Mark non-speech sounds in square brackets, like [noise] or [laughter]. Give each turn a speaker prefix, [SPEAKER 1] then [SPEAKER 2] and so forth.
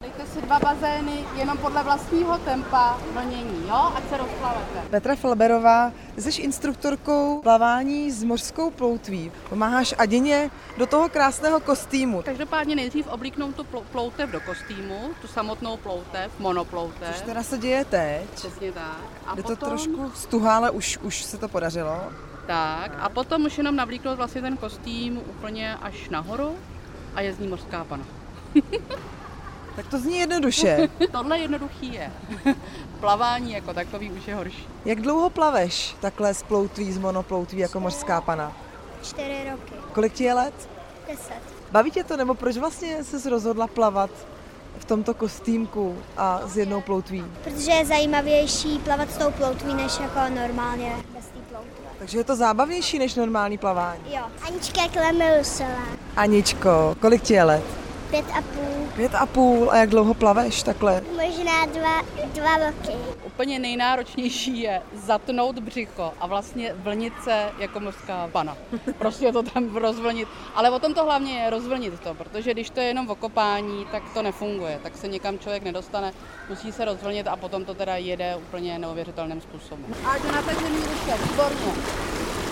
[SPEAKER 1] Naplňte si dva bazény jenom podle vlastního tempa vlnění, jo? Ať se rozplavete.
[SPEAKER 2] Petra Flaberová, jsi instruktorkou plavání s mořskou ploutví. Pomáháš Adině do toho krásného kostýmu.
[SPEAKER 1] Každopádně nejdřív oblíknou tu plou- ploutev do kostýmu, tu samotnou ploutev, monoploutev.
[SPEAKER 2] Což teda se děje teď.
[SPEAKER 1] Přesně tak. A
[SPEAKER 2] Je to
[SPEAKER 1] potom,
[SPEAKER 2] trošku stuhá, ale už, už se to podařilo.
[SPEAKER 1] Tak, a potom už jenom navlíknout vlastně ten kostým úplně až nahoru a je z ní mořská pana.
[SPEAKER 2] Tak to zní jednoduše.
[SPEAKER 1] [laughs] Tohle jednoduchý je. [laughs] Plavání jako takový už je horší.
[SPEAKER 2] Jak dlouho plaveš takhle s ploutví, s monoploutví jako mořská pana?
[SPEAKER 3] Čtyři roky.
[SPEAKER 2] Kolik ti je let?
[SPEAKER 3] Deset.
[SPEAKER 2] Baví tě to, nebo proč vlastně jsi rozhodla plavat v tomto kostýmku a s jednou ploutví?
[SPEAKER 3] Protože je zajímavější plavat s tou ploutví, než jako normálně bez té ploutve.
[SPEAKER 2] Takže je to zábavnější než normální plavání.
[SPEAKER 3] Jo. Anička Klemilsová.
[SPEAKER 2] Aničko, kolik ti je let?
[SPEAKER 3] Pět a půl.
[SPEAKER 2] Pět a půl a jak dlouho plaveš takhle?
[SPEAKER 3] Možná dva, dva roky.
[SPEAKER 1] Úplně nejnáročnější je zatnout břicho a vlastně vlnit se jako mořská pana. Prostě to tam rozvlnit. Ale o tom to hlavně je rozvlnit to, protože když to je jenom v okopání, tak to nefunguje. Tak se někam člověk nedostane, musí se rozvlnit a potom to teda jede úplně neuvěřitelným způsobem. A do natažený ruce, výborně.